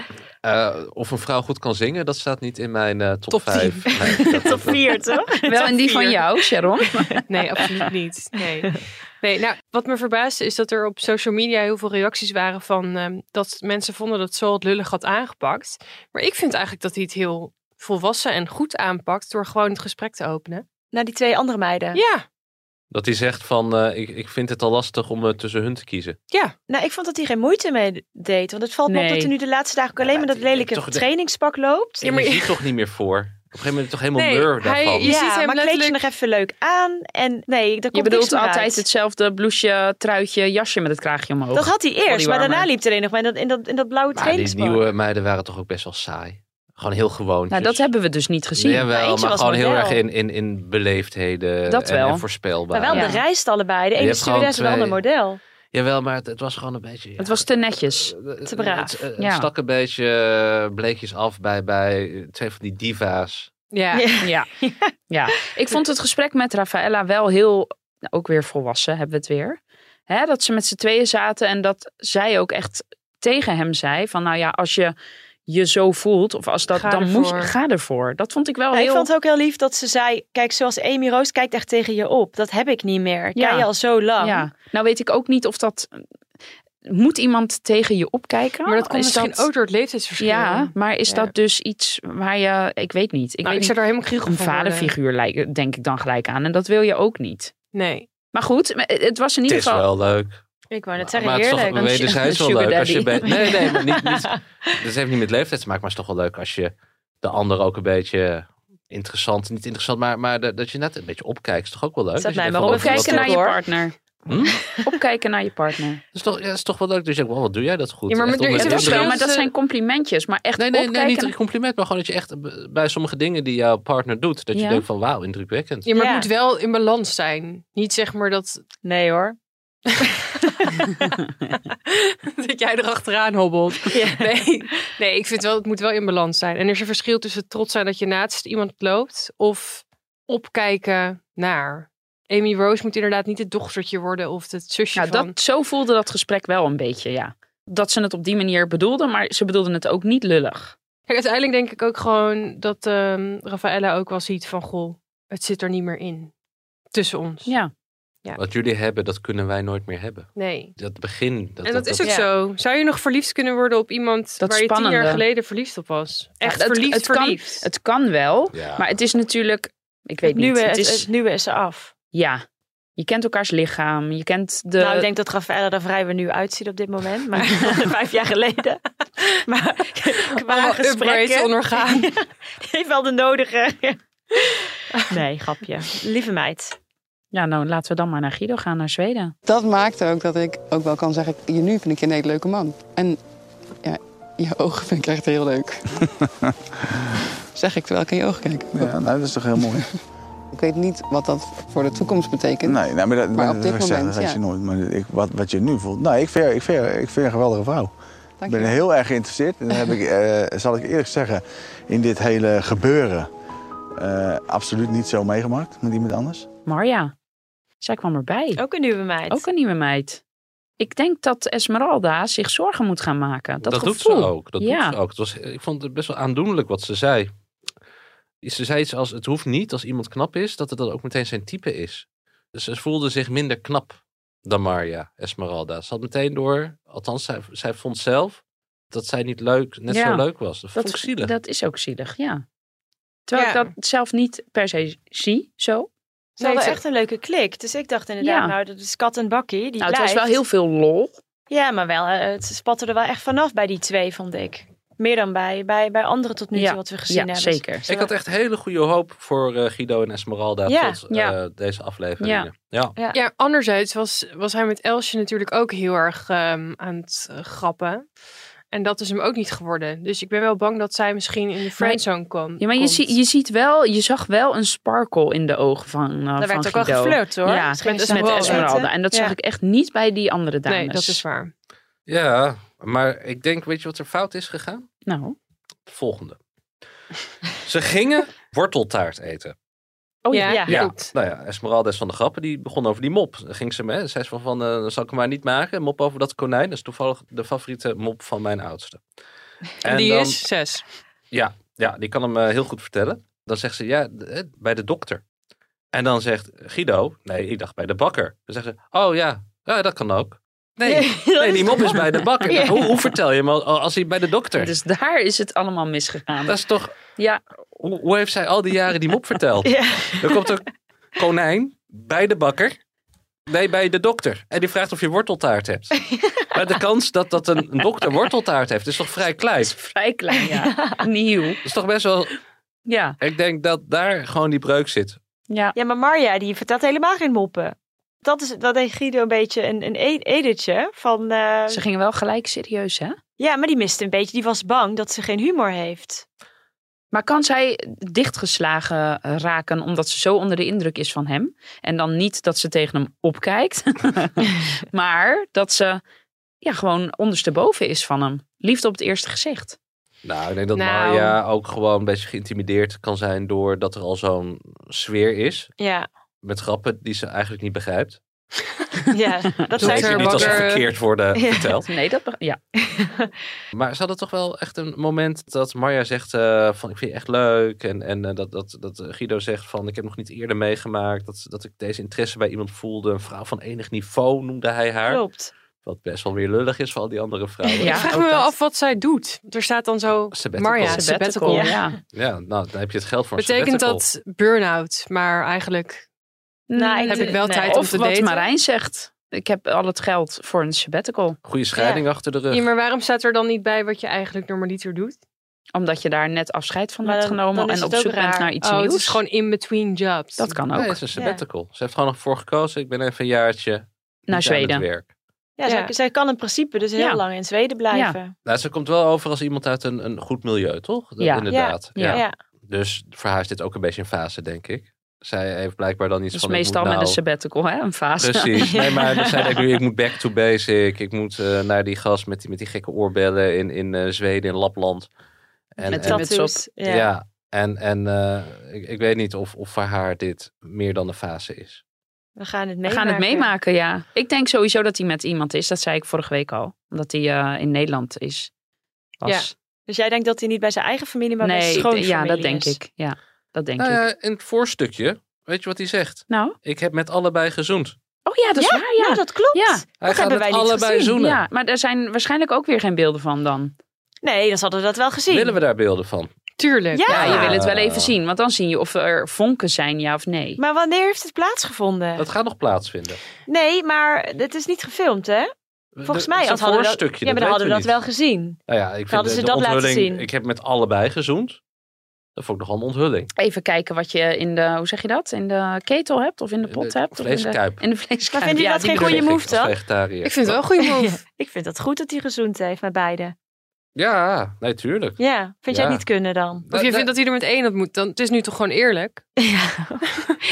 Eh, of een vrouw goed kan zingen, dat staat niet in mijn eh, top,
Top
5. Nee, dat-
Top
dat-
vier, toch?
Wel in die van
vier.
jou, Sharon.
Nee, absoluut niet. Nee. nee nou, wat me verbaasde is dat er op social media heel veel reacties waren van ehm, dat mensen vonden dat Sol het lullig had aangepakt. Maar ik vind eigenlijk dat hij het heel volwassen en goed aanpakt door gewoon het gesprek te openen.
Naar die twee andere meiden.
Ja,
Dat hij zegt van, eh, ik, ik vind het al lastig om eh, tussen hun te kiezen.
Nou, ik vond dat hij geen moeite mee deed. Want het valt me op
Nee.
dat hij nu de laatste dagen ook alleen maar dat
maar het-
lelijke
toch de-
trainingspak loopt.
Ja, maar je ziet toch niet meer voor. Op een gegeven moment toch helemaal
Nee,
mur
hij-
daarvan.
je ziet hem
maar kleed je
letterlijk-
nog even leuk aan. En nee, daar komt
Je bedoelt
niks meer
altijd
uit.
hetzelfde bloesje, truitje, jasje met het kraagje omhoog.
Dat had hij eerst, maar
Bodywarmer.
daarna liep er een nog maar in dat, in dat, in dat blauwe
Maar die
trainingspak.
nieuwe meiden waren toch ook best wel saai. Gewoon heel gewoon.
nou, dat hebben we dus niet gezien.
Ja,
Maar
wel,
eentje
maar
was
gewoon heel
model.
erg in, in, in beleefdheden
Dat
en,
wel.
en voorspelbaar.
Maar wel
Ja.
de rijst allebei. De
Je
ene
hebt gewoon
stewardess en de
twee-
ander model.
Jawel, maar het, het was gewoon een beetje... ja,
Het was te netjes.
eh,
te braaf.
Het, eh, het
Ja.
stak een beetje eh, bleekjes af bij, bij twee van die diva's.
ja.
Ja.
Ja. ja. Ik vond het gesprek met Rafaella wel heel, nou, ook weer volwassen hebben we het weer. Hè, dat ze met z'n tweeën zaten en dat zij ook echt tegen hem zei van nou ja, als je je zo voelt of als dat,
Ga
dan moet je,
ervoor.
ga ervoor. Dat vond ik wel
Ja,
heel...
Ik vond het ook heel lief dat ze zei: Kijk, zoals Amy Roos kijkt echt tegen je op. Dat heb ik niet meer. Ik
Ja.
Ken je al zo lang.
ja. Nou weet ik ook niet of dat... Moet iemand tegen je opkijken?
Maar dat komt
Is
misschien ook door het leeftijdsverschil.
Ja, maar is
Ja.
dat dus iets waar je... Ik weet niet. Ik
nou,
weet
ik zou
niet.
daar helemaal kriegel
Een
van worden.
vaderfiguur lijkt- denk ik dan gelijk aan. En dat wil je ook niet.
Nee,
Maar goed, maar het was in
Het
ieder
is
geval...
wel leuk.
Ik wou net
Maar
zeggen:
het is toch
Heerlijk.
Een su-
wederzijds wel
een
leuk.
sugar
Als je bij,
daddy.
nee, nee, maar niet, niet, dat heeft niet met leeftijd te maken, maar het is toch wel leuk als je de ander ook een beetje interessant, niet interessant, maar, maar dat dat je net een beetje opkijkt, is toch ook wel leuk?
Zet
Dat je
mij
denkt
maar op.
van, oh, wat-
Opkijken naar je
hoor.
partner.
Hm?
Opkijken naar je partner.
Dat is toch, ja, dat is toch wel leuk. Dus je denkt, wow, wat doe jij dat goed?
Ja, maar
Echt
er is
onder
Het
de
een
is
indruk.
wel, maar
verschil.
dat zijn complimentjes. Maar echt
Nee, nee, nee,
opkijken.
niet een compliment, maar gewoon dat je echt b- bij sommige dingen die jouw partner doet, dat je
Ja.
denkt van wauw, indrukwekkend.
ja, maar
Ja.
het moet wel in balans zijn. Niet zeg maar dat,
Nee hoor.
dat jij erachteraan hobbelt.
Ja.
Nee, nee, ik vind wel, het moet wel in balans zijn. En er is een verschil tussen trots zijn dat je naast iemand loopt of opkijken naar. Amy Rose moet inderdaad niet het dochtertje worden of het zusje
Nou,
van.
dat, zo voelde dat gesprek wel een beetje, ja. Dat ze het op die manier bedoelden, maar ze bedoelden het ook niet lullig.
Kijk, uiteindelijk denk ik ook gewoon dat ehm Rafaella ook wel ziet van goh, het zit er niet meer in tussen ons.
Ja.
Wat jullie hebben, dat kunnen wij nooit meer hebben.
Nee.
Dat begin. Dat,
en dat, is ook
ja.
zo. Zou je nog verliefd kunnen worden op iemand
Dat
waar je tien jaar
spannende.
geleden verliefd op was? Echt
het-
verliefd,
het kan-
verliefd.
Het kan wel,
Ja.
maar het is natuurlijk... Ik weet
Het nieuwe,
niet. Het
is,
is,
het nieuwe is af.
ja, je kent elkaars lichaam. Je kent de...
Nou, ik denk dat Rafaela er vrij weer nieuw uitziet op dit moment. Maar vijf jaar geleden. Maar qua
Allemaal upgrades,
gesprekken
onorgaan.
heeft wel de nodige... Nee, grapje. Lieve meid.
Ja, nou laten we dan maar naar Guido gaan, naar Zweden.
Dat maakt ook dat ik ook wel kan zeggen, je nu vind ik je een hele leuke man. En ja, je ogen vind ik echt heel leuk. zeg ik terwijl ik in je ogen kijk.
Ja, nou, dat is toch heel mooi.
Ik weet niet wat dat voor de toekomst betekent.
Nee, nou, maar, dat,
Maar op
dat-
dit
dat- dat- dat
moment,
weet
ja.
je nooit. Maar ik, wat, wat je nu voelt. Nou, ik vind, ik vind, ik vind een geweldige vrouw. Ik
Dank je.
ben heel erg geïnteresseerd. En dan heb ik, eh, zal ik eerlijk zeggen, in dit hele gebeuren eh, absoluut niet zo meegemaakt met iemand anders.
Marja, zij kwam erbij.
Ook een nieuwe Oh, meid.
Ook een nieuwe meid. Ik denk dat Esmeralda zich zorgen moet gaan maken. Dat,
Dat, doet ze
gevoel.
ook. Dat
Ja.
doet ze ook. Het was, ik vond het best wel aandoenlijk wat ze zei. Ze zei iets als: Het hoeft niet als iemand knap is, dat het dan ook meteen zijn type is. Dus ze voelde zich minder knap dan Maria Esmeralda. Ze had meteen door, althans, zij, zij vond zelf dat zij niet leuk, net
Ja.
zo leuk was. Dat, vond ik zielig.
dat is ook zielig, ja. Terwijl
Ja.
ik dat zelf niet per se zie, zo.
Ze hadden
Nee,
echt een leuke klik. Dus ik dacht inderdaad,
Ja.
nou, dat is kat en bakkie. Die
Nou, het was wel
blijft.
heel veel lol.
Ja, maar wel, eh, het spatte er wel echt vanaf bij die twee, vond ik. Meer dan bij, bij, bij anderen tot nu toe
Ja.
wat we gezien
Ja,
hebben. Dus, eh,
zeker.
Ik had echt hele goede hoop voor eh, Guido en Esmeralda
Ja,
tot eh,
ja.
deze afleveringen. Ja.
Ja, anderzijds was, was hij met Elsje natuurlijk ook heel erg ehm, aan het eh, grappen. En dat is hem ook niet geworden. Dus ik ben wel bang dat zij misschien in de friendzone kwam.
Ja, maar je,
komt.
zie, je ziet wel, je zag wel een sparkle in de ogen van. eh
Daar
van
werd ook al
Guido.
geflirt hoor.
Ja,
Ze gingen
met, met
samen
Esmeralda.
eten.
En dat
Ja.
zag ik echt niet bij die andere dames.
Nee, dat is waar.
ja, maar ik denk, weet je wat er fout is gegaan?
Nou.
Het volgende. Ze gingen worteltaart eten.
Oh
ja.
ja.
Ja,
klopt.
nou ja, Esmeralda is van de grappen, die begon over die mop. Dan ging ze mee, zei ze van, van eh, zal ik hem maar niet maken? Mop over dat konijn, dat is toevallig de favoriete mop van mijn oudste.
En, die
dan-
is zes.
Ja, ja, die kan hem eh, heel goed vertellen. Dan zegt ze, ja, d- eh, bij de dokter. En dan zegt Guido, nee, ik dacht bij de bakker. Dan zegt ze, oh ja, ja dat kan ook. Nee, nee, die mop is bij de bakker.
Ja.
Hoe, hoe vertel je hem al- als hij bij de dokter?
Dus daar is het allemaal misgegaan.
Dat is toch,
Ja,
hoe, hoe heeft zij al die jaren die mop verteld?
Ja.
Er komt een konijn bij de bakker. Nee, bij de dokter. En die vraagt of je worteltaart hebt. Maar de kans dat, dat een een dokter worteltaart heeft, is toch vrij klein.
is vrij klein, ja. Nieuw.
Dat is toch best wel...
Ja,
Ik denk dat daar gewoon die breuk zit.
ja.
Ja, maar Marja, die vertelt helemaal geen moppen. Dat, is, dat deed Guido een beetje een, een e- editje van... eh,
Ze gingen wel gelijk serieus, hè?
Ja, maar die miste een beetje. Die was bang dat ze geen humor heeft.
Maar kan zij dichtgeslagen raken omdat ze zo onder de indruk is van hem? En dan niet dat ze tegen hem opkijkt, maar dat ze ja, gewoon ondersteboven is van hem. Liefde op het eerste gezicht.
Nou, ik denk dat
Nou.
Marja ook gewoon een beetje geïntimideerd kan zijn... doordat er al zo'n sfeer is
Ja,
met grappen die ze eigenlijk niet begrijpt.
ja dat
Dat
zei
weet
ze
ik
haar
niet als ze
bakker-
verkeerd worden
Ja.
verteld.
Nee, dat beg- ja.
Maar ze hadden toch wel echt een moment dat Marja zegt eh, van ik vind je echt leuk. En, en eh, dat, dat, dat Guido zegt van ik heb nog niet eerder meegemaakt dat, dat ik deze interesse bij iemand voelde. Een vrouw van enig niveau noemde hij haar.
Oh.
Klopt.
Wat best wel weer lullig is voor al die andere vrouwen.
Ja,
ik vraag
ook
me wel
dat.
af wat zij doet. Er staat dan zo
Sabbatical.
Marja,
Sabbatical,
sabbatical.
Ja.
Ja, nou dan heb je het geld voor een
Betekent
sabbatical.
dat burn-out, maar eigenlijk...
Nou, ik
Heb ik wel tijd
of
om te
wat
daten?
Marijn zegt. Ik heb al het geld voor een sabbatical.
Goede scheiding achter de rug.
Ja, maar waarom staat er dan niet bij wat je eigenlijk normaliter doet?
Omdat je daar net afscheid van
Maar
hebt
dan-
genomen
dan is
en
het
op
ook
zoek bent
raar.
naar iets
oh,
nieuws.
het is gewoon in-between jobs.
Dat kan
Nee,
ook.
het is Nou, een sabbatical. Ze heeft gewoon nog voor gekozen. Ik ben even een jaartje niet aan
Naar
het
Zweden.
werk.
Ja,
Ja.
Zij, zij kan in principe dus heel
Ja.
lang in Zweden blijven.
Nou, ze komt wel over als iemand uit een, een goed milieu, toch? Dat-
Ja.
Inderdaad.
Ja.
Ja.
Ja.
Dus voor haar is dit ook een beetje een fase, denk ik. Zij heeft blijkbaar dan iets
Dat is
van... ik
Dus meestal
moet
met
nou-
een sabbatical, hè? Een fase.
Precies. Nee, maar dan zei ik nu, ik moet back to basic. Ik moet eh, naar die gast met die, met die gekke oorbellen in, in eh, Zweden, in Lapland. En,
Met
en-
dat-
Tattoos.
muts
Ja.
ja. en, en eh, ik, ik weet niet of, of voor haar dit meer dan een fase is.
We gaan het
We
meemaken.
gaan het meemaken, ja. Ik denk sowieso dat hij met iemand is. Dat zei ik vorige week al. Omdat hij eh, in Nederland is. Was.
Dus jij denkt dat hij niet bij zijn eigen familie, maar bij
nee,
zijn
ik-
schoonfamilie
ja, dat denk
is.
ik. Ja, dat denk
Nou
ik.
ja, in het voorstukje, weet je wat hij zegt?
Nou,
Ik heb met allebei gezoend.
oh ja, dat is waar, ja.
Nou, dat klopt.
Ja.
Hij
Dat
gaat
hebben
met
wij niet
allebei
gezien.
zoenen.
Ja, maar er zijn waarschijnlijk ook weer geen beelden van dan.
Nee, dan hadden we dat wel gezien.
Willen we daar beelden van?
Tuurlijk.
Ja.
Ja, je wil het wel
Ah.
even zien. Want dan zie je of er vonken zijn, ja of nee.
Maar wanneer heeft het plaatsgevonden?
Dat gaat nog plaatsvinden.
Nee, maar het is niet gefilmd, hè? Volgens
De-
mij
het
had
is een
hadden we dat,
voorstukje,
ja, maar dan hadden we dat
weten
wel
niet.
gezien.
Nou ja, ik vind
Hadden
de,
ze
de
dat laten
onthulling,
zien?
ik heb met allebei gezoend. Dat vond ik nogal een onthulling.
Even kijken wat je in de, hoe zeg je dat? In de ketel hebt of in de
In
pot
de
hebt. Of in, de,
vleeskuip.
in de vleeskuip.
Maar vinden jullie dat
die
geen
bedoel
goede
ik.
Zeg ik
move
als
dan?
vegetariër.
Ik vind het wel een goede move.
Ik vind het goed dat hij gezoend heeft met beide.
Ja, nee, tuurlijk.
Ja, vind jij
Ja.
het niet kunnen dan?
Of je vindt dat hij er met één op moet, dan het is nu toch gewoon eerlijk?
Ja.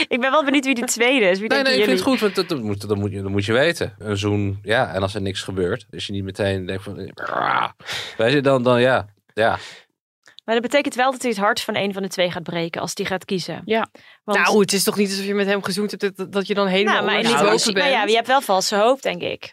ik ben wel benieuwd wie de tweede is. Wie
Nee,
denken
nee, ik vind
jullie?
het goed, want dat, dat, moet, dat, moet, je- dat moet je weten. Een zoen, ja, en als er niks gebeurt, als je niet meteen denkt van... "Ah", Weet je, dan, dan ja, ja.
Maar dat betekent wel dat hij het hart van een van de twee gaat breken als die gaat kiezen.
Ja.
Want,
Nou, het is toch niet alsof je met hem gezoend hebt dat, dat je dan helemaal
nou, maar,
onder
in
het
ieder
hoofd
geval-
bent.
maar ja, je hebt wel valse hoop, denk ik.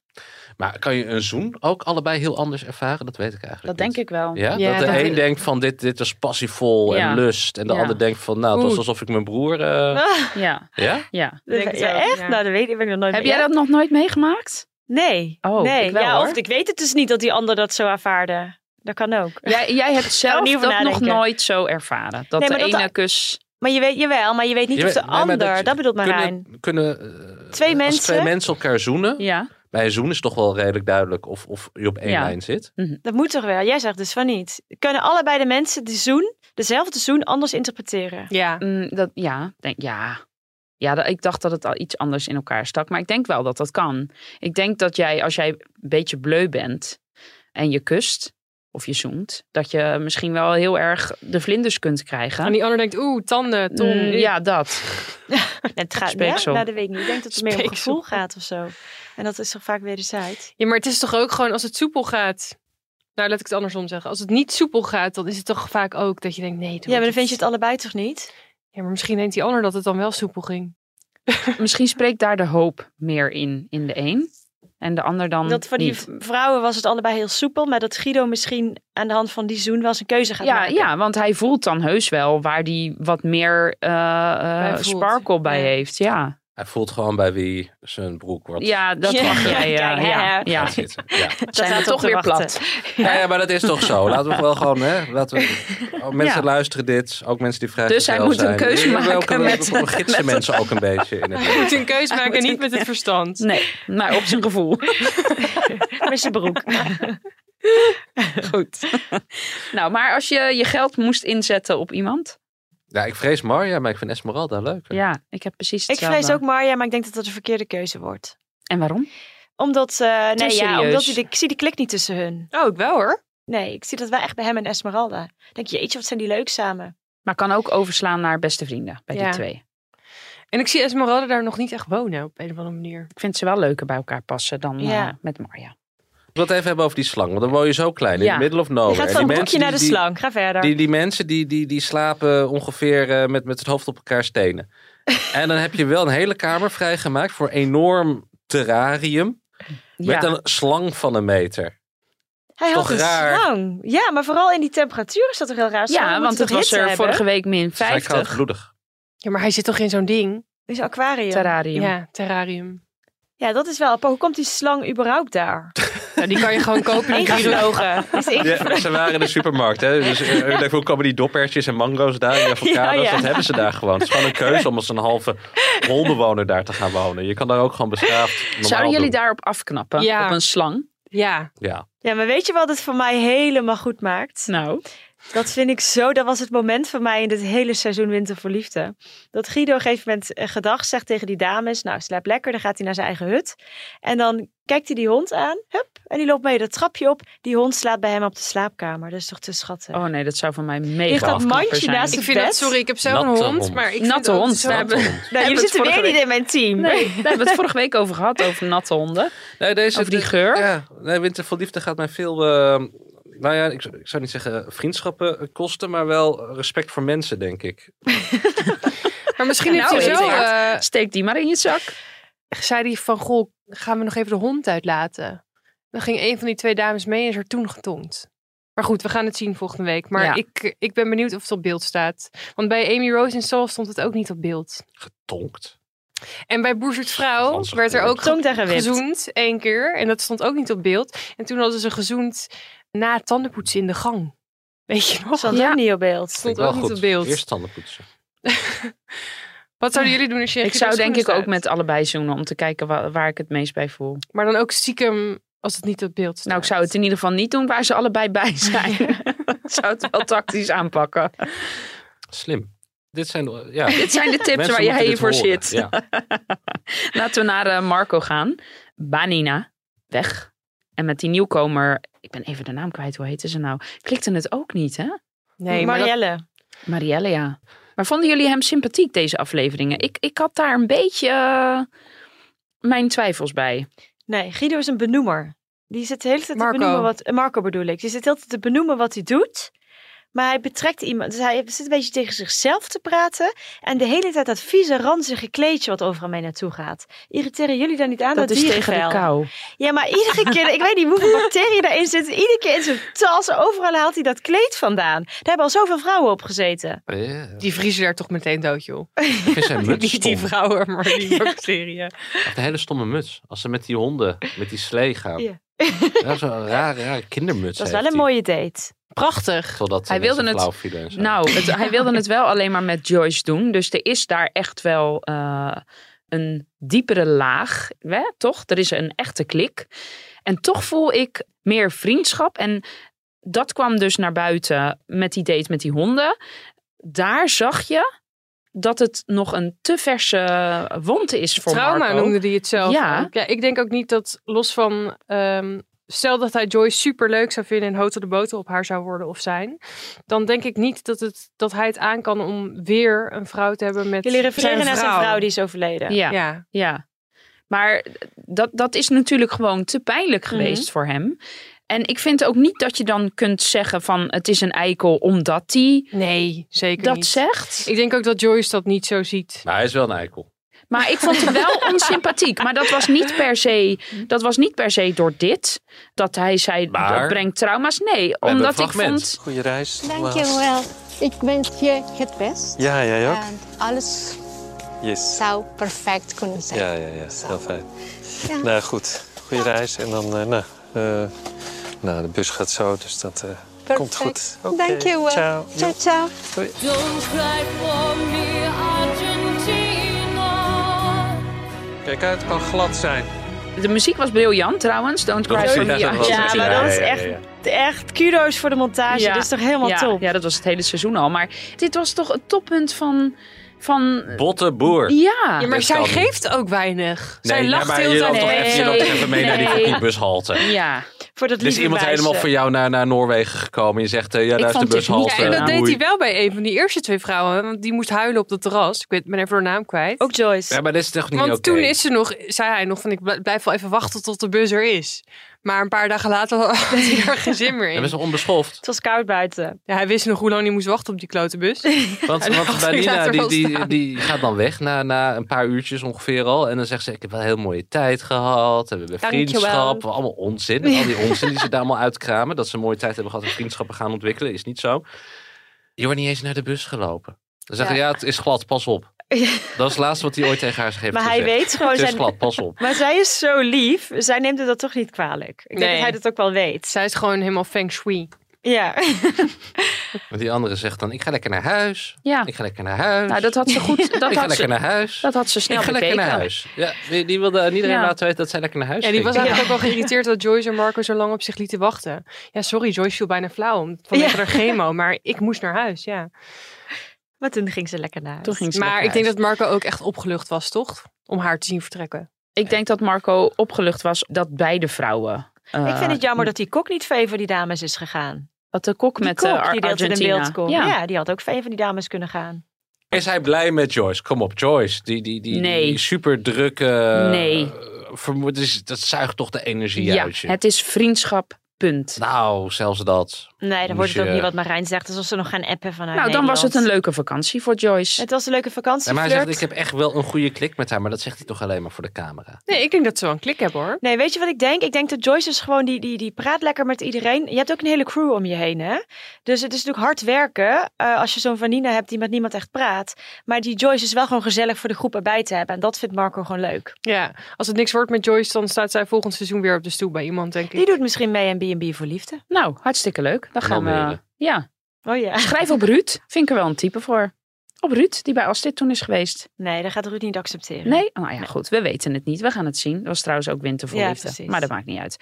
Maar kan je een zoen ook allebei heel anders ervaren? Dat weet ik eigenlijk
Dat denk ik wel.
Ja,
Ja,
dat de
dat-
een denkt van dit, dit is passievol
Ja.
en lust. En de
Ja.
ander denkt van nou, het was
Oeh.
alsof ik mijn broer... eh,
Ja,
ja?
ja.
denk het
Ja,
ook,
echt?
ja.
Nou, dat weet ik, ben ik nog nooit
Heb
mee-
jij dat nog nooit meegemaakt?
Nee.
Oh,
nee.
ik wel,
ja,
hoor.
Of ik weet het dus niet dat die ander dat zo ervaarde. Dat kan ook.
Jij, jij hebt zelf
niet
dat
over
nog
nadenken.
nooit zo ervaren. Dat
Nee,
de
maar dat
ene
de-
kus
Maar je weet, jawel, maar je weet niet
Je
of de
weet- nee, maar
ander, dat,
je-
bedoelt Marijn.
Kunnen, kunnen, eh,
Twee
Als twee
mensen?
mensen elkaar zoenen.
Ja.
Bij een zoen is toch wel redelijk duidelijk of, of je op één
Ja.
lijn zit.
Dat moet toch wel? Jij zegt dus van niet. Kunnen allebei de mensen de zoen, dezelfde zoen, anders interpreteren?
Ja.
Mm, dat, ja, denk, ja. Ja, dat, ik dacht dat het al iets anders in elkaar stak. Maar ik denk wel dat dat kan. Ik denk dat jij, als jij een beetje bleu bent en je kust of je zoent, dat je misschien wel heel erg de vlinders kunt krijgen.
En die ander denkt, oeh, tanden, tong.
Mm,
eh.
ja, dat.
Het gaat
Speeksel.
Ja, nou, dat weet ik niet. Ik denk dat het meer om
Speeksel.
gevoel gaat of zo. En dat is toch vaak wederzijds.
Ja, maar het is toch ook gewoon als het soepel gaat. Nou, laat ik het andersom zeggen. Als het niet soepel gaat, dan is het toch vaak ook dat je denkt, nee, doe
Ja, maar dan
het
vind je
niet.
het allebei toch niet?
Ja, maar misschien denkt die ander dat het dan wel soepel ging.
Misschien spreekt daar de hoop meer in, in de een. En de ander dan
Dat voor die
niet.
v- vrouwen was het allebei heel soepel, maar dat Guido misschien aan de hand van die zoen wel zijn keuze gaat
Ja,
maken.
ja, want hij voelt dan heus wel waar hij wat meer eh, eh,
Bij voelt.
sparkle bij
Ja.
heeft. Ja,
Hij voelt gewoon bij wie zijn broek wordt.
ja dat
Ja.
mag jij. eh,
Ja, ja, ja.
ja, ja.
gaat zitten. Ja.
Dat zijn we
staat op
toch
te
weer
wachten.
plat.
Ja, ja, maar dat is toch zo. Laten we wel gewoon, hè, laten we, ook mensen
Ja.
luisteren dit, ook mensen die vragen
Dus hij moet een keuze maken met-
We gidsen
met-
mensen ook een beetje in het
Je
leven.
moet een keus maken,
moet
niet
een-
met het verstand.
Nee, maar op zijn gevoel.
Met zijn broek.
Goed. nou, maar als je je geld moest inzetten op iemand.
Ja, ik vrees Marja, maar ik vind Esmeralda leuker.
Ja, ik heb precies
ik
hetzelfde.
vrees ook Marja, maar ik denk dat dat een verkeerde keuze wordt.
En waarom?
Omdat, eh, nee, ja,
serieus.
omdat ik, ik zie de klik niet tussen hun.
Oh, ik wel hoor.
Nee, ik zie dat wij echt bij hem en Esmeralda. Ik Denk je, jeetje, wat zijn die leuk samen?
Oh,
Maar kan ook overslaan naar beste vrienden bij
Ja.
die twee.
En ik zie Esmeralda daar nog niet echt wonen op een of andere manier.
Ik vind ze wel leuker bij elkaar passen dan eh,
Ja.
met Marja.
Ik wil het even hebben over die slang, want dan woon je zo klein, in
Ja.
the middle of nowhere.
je gaat
En
van
die
een broekje
mensen
naar de
die- die-
slang. Ga verder.
Die, die mensen die, die, die slapen ongeveer eh, met, met het hoofd op elkaar stenen. En dan heb je wel een hele kamer vrijgemaakt voor een enorm terrarium.
Ja.
Met een slang van een meter.
Hij
toch
had een
raar?
slang. Ja, maar vooral in die temperatuur is dat toch heel raar. Slangen
Ja,
moeten
want het
toch
was
hitte
er
hebben?
vorige week min
Het is vrij
50
koudbloedig.
Ja, maar hij zit toch in zo'n ding?
In zo'n aquarium.
terrarium.
Ja, terrarium.
Ja, dat is wel apart. Hoe komt die slang überhaupt daar?
Nou, die kan je gewoon kopen in Guido.
Ingevlogen. Is die ingevlogen?
Ja, ze waren in de supermarkt. Hè? Dus eh, ik dacht, hoe komen die doppertjes en mango's daar en avocado's?
Ja, ja.
Dat hebben ze daar gewoon. Het is gewoon een keuze om als een halve holbewoner daar te gaan wonen. Je kan daar ook gewoon beschaafd normaal
Zouden jullie
doen.
daarop afknappen?
Ja.
Op een slang?
Ja,
Ja.
Ja, maar weet je wat het voor mij helemaal goed maakt?
Nou.
Dat vind ik zo. Dat was het moment voor mij in dit hele seizoen Winter voor Liefde. Dat Guido op een gegeven moment eh, gedag zegt tegen die dames. Nou, slaap lekker. Dan gaat hij naar zijn eigen hut. En dan kijkt hij die hond aan. Hup. En die loopt mee dat trapje op. Die hond slaapt bij hem op de slaapkamer. Dat is toch te schatten.
Oh nee, dat zou van mij mega
Ligt dat
afknapper
mandje
zijn.
naast
ik
het
vind dat,
bed?
sorry, ik heb zo'n
Natte
hond,
hond.
maar ik vind
Natte
ook
hond,
zo-
We
Natte
hebben-
hond.
nou, jullie
hebben het
zitten weer
vorige
niet in mijn team.
Nee, daar hebben we het vorige week over gehad, over natte honden.
Nee, deze,
Over die
de-
geur?
Ja, nee, Winter van Liefde gaat mij veel... eh, nou ja, ik, zou- ik zou niet zeggen vriendschappen eh, kosten, maar wel respect voor mensen, denk ik.
Maar misschien heeft
Nou,
hij zo...
inderdaad.
eh,
Steek die maar in je zak.
zei hij van, goh, gaan we nog even de hond uitlaten? Dan ging een van die twee dames mee en is er toen getongd. Maar goed, we gaan het zien volgende week. Maar
Ja.
ik, ik ben benieuwd of het op beeld staat. Want bij Amy Rose in Soul stond het ook niet op beeld.
Getonkt.
En bij Boezert Vrouw
Ranzig
werd er
woord.
ook
Tong tegen wit.
gezoend één keer. En dat stond ook niet op beeld. En toen hadden ze gezoend na het tandenpoetsen in de gang. Weet je nog?
Stond
Ja.
ook niet op beeld.
Stond
Vind ik wel
ook niet
goed.
op beeld.
Eerst tanden poetsen.
Wat zouden jullie doen als je in
Ik zou
Guido's
denk ik ook
schoenen
met allebei zoenen om te kijken wa- waar, ik het meest bij voel.
staat? Maar dan ook stiekem als het niet op beeld staat.
Nou, ik zou het in ieder geval niet doen waar ze allebei bij zijn. ik zou het wel tactisch aanpakken.
Slim. Dit zijn... de- Ja.
Dit zijn de tips
Mensen
waar
moeten
jij
dit
hiervoor
horen.
zit.
Ja.
Laten we naar eh, Marco gaan. Banina, weg. En met die nieuwkomer, ik ben even de naam kwijt, hoe heette ze nou? Klikte het ook niet, hè?
Nee, maar dat-
Marielle.
Marielle, ja. Maar vonden jullie hem sympathiek, deze afleveringen? Ik, ik had daar een beetje eh, mijn twijfels bij.
Nee, Guido is een benoemer. Die zit de hele tijd
Marco.
te benoemen wat... eh, Marco bedoel ik. Die zit de hele tijd te benoemen wat hij doet. Maar hij betrekt iemand... Dus hij zit een beetje tegen zichzelf te praten. En de hele tijd dat vieze, ranzige kleedje wat overal mee naartoe gaat. Irriteren jullie daar niet aan? Dat,
Dat is tegen de
dierenvel?
kou.
Ja, maar iedere keer... ik weet niet hoeveel bacteriën daarin zitten. Iedere keer in zijn tas. Overal haalt hij dat kleed vandaan. Daar hebben al zoveel vrouwen op gezeten.
Ja.
Die vriezen daar toch meteen dood, joh.
Ik vind zijn muts
Niet die
stom.
vrouwen, maar die bacteriën.
Echt een hele stomme muts. Als ze met die honden, met die slee gaan.
Ja.
Ja. Zo'n rare, rare kindermuts
Dat is
heeft
wel een
hij.
mooie date.
prachtig.
Totdat
Hij
hij wilde
wilde
het
het-
flauw vielen en zo.
Nou, het, hij wilde het wel alleen maar met Joyce doen. Dus er is daar echt wel eh, een diepere laag, hè, toch? Er is een echte klik. En toch voel ik meer vriendschap. En dat kwam dus naar buiten met die date met die honden. Daar zag je dat het nog een te verse wond is voor
Trauma
Marco.
noemde hij het zelf.
Ja.
ook. ja, ik denk ook niet dat los van. ehm, stel dat hij Joyce super leuk zou vinden en hotel de boter op haar zou worden of zijn. Dan denk ik niet dat, het, dat hij het aan kan om weer een vrouw te hebben met.
Jullie refereren naar zijn vrouw die is overleden.
Ja, ja.
Ja.
Maar dat, dat is natuurlijk gewoon te pijnlijk geweest
Mhm.
voor hem. En ik vind ook niet dat je dan kunt zeggen van het is een eikel omdat hij
Nee, zeker
dat
niet.
zegt.
Ik denk ook dat Joyce dat niet zo ziet.
Maar Nou, hij is wel een eikel.
Maar ik vond hem wel onsympathiek. Maar dat was niet per se,
Mhm.
dat was niet per se door dit. Dat hij zei,
Maar-
dat brengt trauma's. Nee,
hebben
omdat
een
ik
fragment.
vond...
Goede reis.
Dankjewel. Ik wens je het best.
Ja, jij ook?
En alles
Yes.
zou perfect kunnen zijn.
Ja, ja, ja. Heel fijn.
Ja.
Nou, goed. Goede reis. En dan, eh, nou, eh, nou, de bus gaat zo, dus dat eh, komt goed. Oké.
Dankjewel.
Ciao.
eh. Ciao, ciao.
Don't cry for me, Argentina.
Kijk uit, het kan glad zijn.
De muziek was briljant trouwens. Don't cry for me.
Ja, maar dat is echt, echt kudo's voor de montage.
Ja,
Dit is toch helemaal
ja,
top.
Ja, dat was het hele seizoen al. Maar dit was toch het toppunt van... van
Botte boer.
ja.
Ja, maar
dat
zij
kan.
geeft ook weinig.
dus Nee,
zij
ja,
lacht
maar
heel
je loopt
de
toch
tijd
even, je
zo.
loopt toch even mee naar die
Nee.
verkeerbushalte.
Ja.
Voor dat
Er is iemand helemaal voor jou naar, naar Noorwegen gekomen. Je zegt, eh, ja, daar is de
vond dit niet
bushalte. Nou,
Ja, en dat deed
Oei.
hij wel bij een van die eerste twee vrouwen. Want die moest huilen op het terras. Ik weet, ben even haar naam kwijt.
Ook Joyce.
Ja, maar dit is toch niet
Want
oké?
toen is ze nog, zei hij nog van ik bl- blijf wel even wachten tot de bus er is. Maar een paar dagen later had hij er geen zin meer
Dat is
in.
wel onbeschoft.
Het was koud buiten.
Ja, hij wist nog hoe lang hij moest wachten op die klote bus.
Want,
Hij
want
dacht, ik laat
Danina
er
die,
wel
die,
staan.
die gaat dan weg na, na een paar uurtjes ongeveer al. En dan zegt ze, ik heb wel heel mooie tijd gehad. En we hebben
Dankjewel.
vriendschap. Allemaal onzin. Al die onzin die ze daar allemaal uitkramen. Dat ze een mooie tijd hebben gehad en vriendschappen gaan ontwikkelen. Is niet zo. Je wordt niet eens naar de bus gelopen. Dan zeggen ze, ja, het is glad, pas op. Dat is het laatste wat hij ooit tegen haar heeft
Maar hij
gezegd.
weet gewoon
Het is
zijn-
glad, pas op.
Maar zij is zo lief. Zij neemt het dat toch niet kwalijk. Ik denk
Nee.
dat hij dat ook wel weet.
Zij is gewoon helemaal feng shui.
Ja.
Want die andere zegt dan, ik ga lekker naar huis.
Ja.
Ik ga lekker naar huis.
Nou, dat had ze goed... Dat
ik ga
had
lekker
ze,
naar huis.
dat had ze
Ik
snel
ga lekker
bekeken.
naar huis. Ja, die, die wilde aan iedereen
Ja.
laten weten dat zij lekker naar huis
Ja, die was
ging.
eigenlijk ook wel geïrriteerd dat Joyce en Marco zo lang op zich lieten wachten. Ja, sorry, Joyce viel bijna flauw om- vanwege
Ja.
haar chemo. Maar ik moest naar huis, ja.
Maar toen ging ze lekker naar huis.
Toen ging ze
Maar
lekker
ik denk
naar
dat Marco ook echt opgelucht was, toch? Om haar te zien vertrekken.
Ik denk dat Marco opgelucht was dat beide vrouwen... eh,
ik vind het jammer dat die kok niet vee van die dames is gegaan.
Dat de kok
Die
met
kok
de
die deelt in
Argentina.
beeld komt. eh, Ja. die had ook vee van die dames kunnen gaan.
Is hij blij met Joyce? Kom op, Joyce. Die, die, die,
Nee.
die super drukke.
Nee.
vermoed is, dat zuigt toch de energie
Ja,
uit je.
het is vriendschap, punt.
Nou, zelfs dat.
Nee, dan
Moest
wordt het
je-
ook niet wat Marijn zegt. Alsof ze nog gaan appen vanuit
nou, dan was het een
Nederland.
leuke vakantie voor Joyce.
Het was een leuke vakantie.
Nee, maar hij
flirt.
zegt: Ik heb echt wel een goede klik met haar, maar dat zegt hij toch alleen maar voor de camera.
Nee, ik denk dat ze wel een klik hebben, hoor.
Nee, weet je wat ik denk? Ik denk dat Joyce is gewoon, die, die, die praat lekker met iedereen. Je hebt ook een hele crew om je heen, hè? Dus het is natuurlijk hard werken eh, als je zo'n Vanina hebt die met niemand echt praat. Maar die Joyce is wel gewoon gezellig voor de groep erbij te hebben. En dat vindt Marco gewoon leuk.
Ja, als het niks wordt met Joyce, dan staat zij volgend seizoen weer op de stoel bij iemand, denk
Die
ik.
doet misschien mee aan B&B voor liefde.
Nou, hartstikke leuk. Dan gaan we. eh,
Almere.
Ja,
Oh ja.
schrijf op Ruud. Vind ik er wel een type voor. Op Ruud, die bij Astrid toen is geweest.
Nee, dat gaat Ruud niet accepteren.
Nee? Nou ja, goed. We weten het niet. We gaan het zien. Dat was trouwens ook winter voor
Ja,
liefde.
precies.
Maar dat maakt niet uit.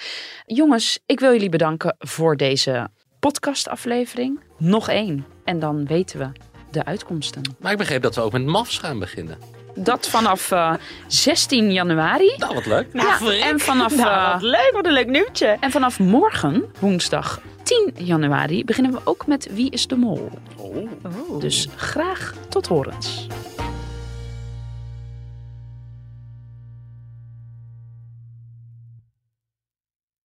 Jongens, ik wil jullie bedanken voor deze podcastaflevering. Nog één. En dan weten we de uitkomsten.
Maar ik begreep dat we ook met MAFs gaan beginnen.
Dat vanaf eh, 16 januari.
Nou, wat leuk.
Ja, en vanaf eh,
Nou, wat leuk, wat een leuk nieuwtje.
En vanaf morgen, woensdag 10
Oh.
januari, beginnen we ook met Wie is de Mol. Dus graag tot horens.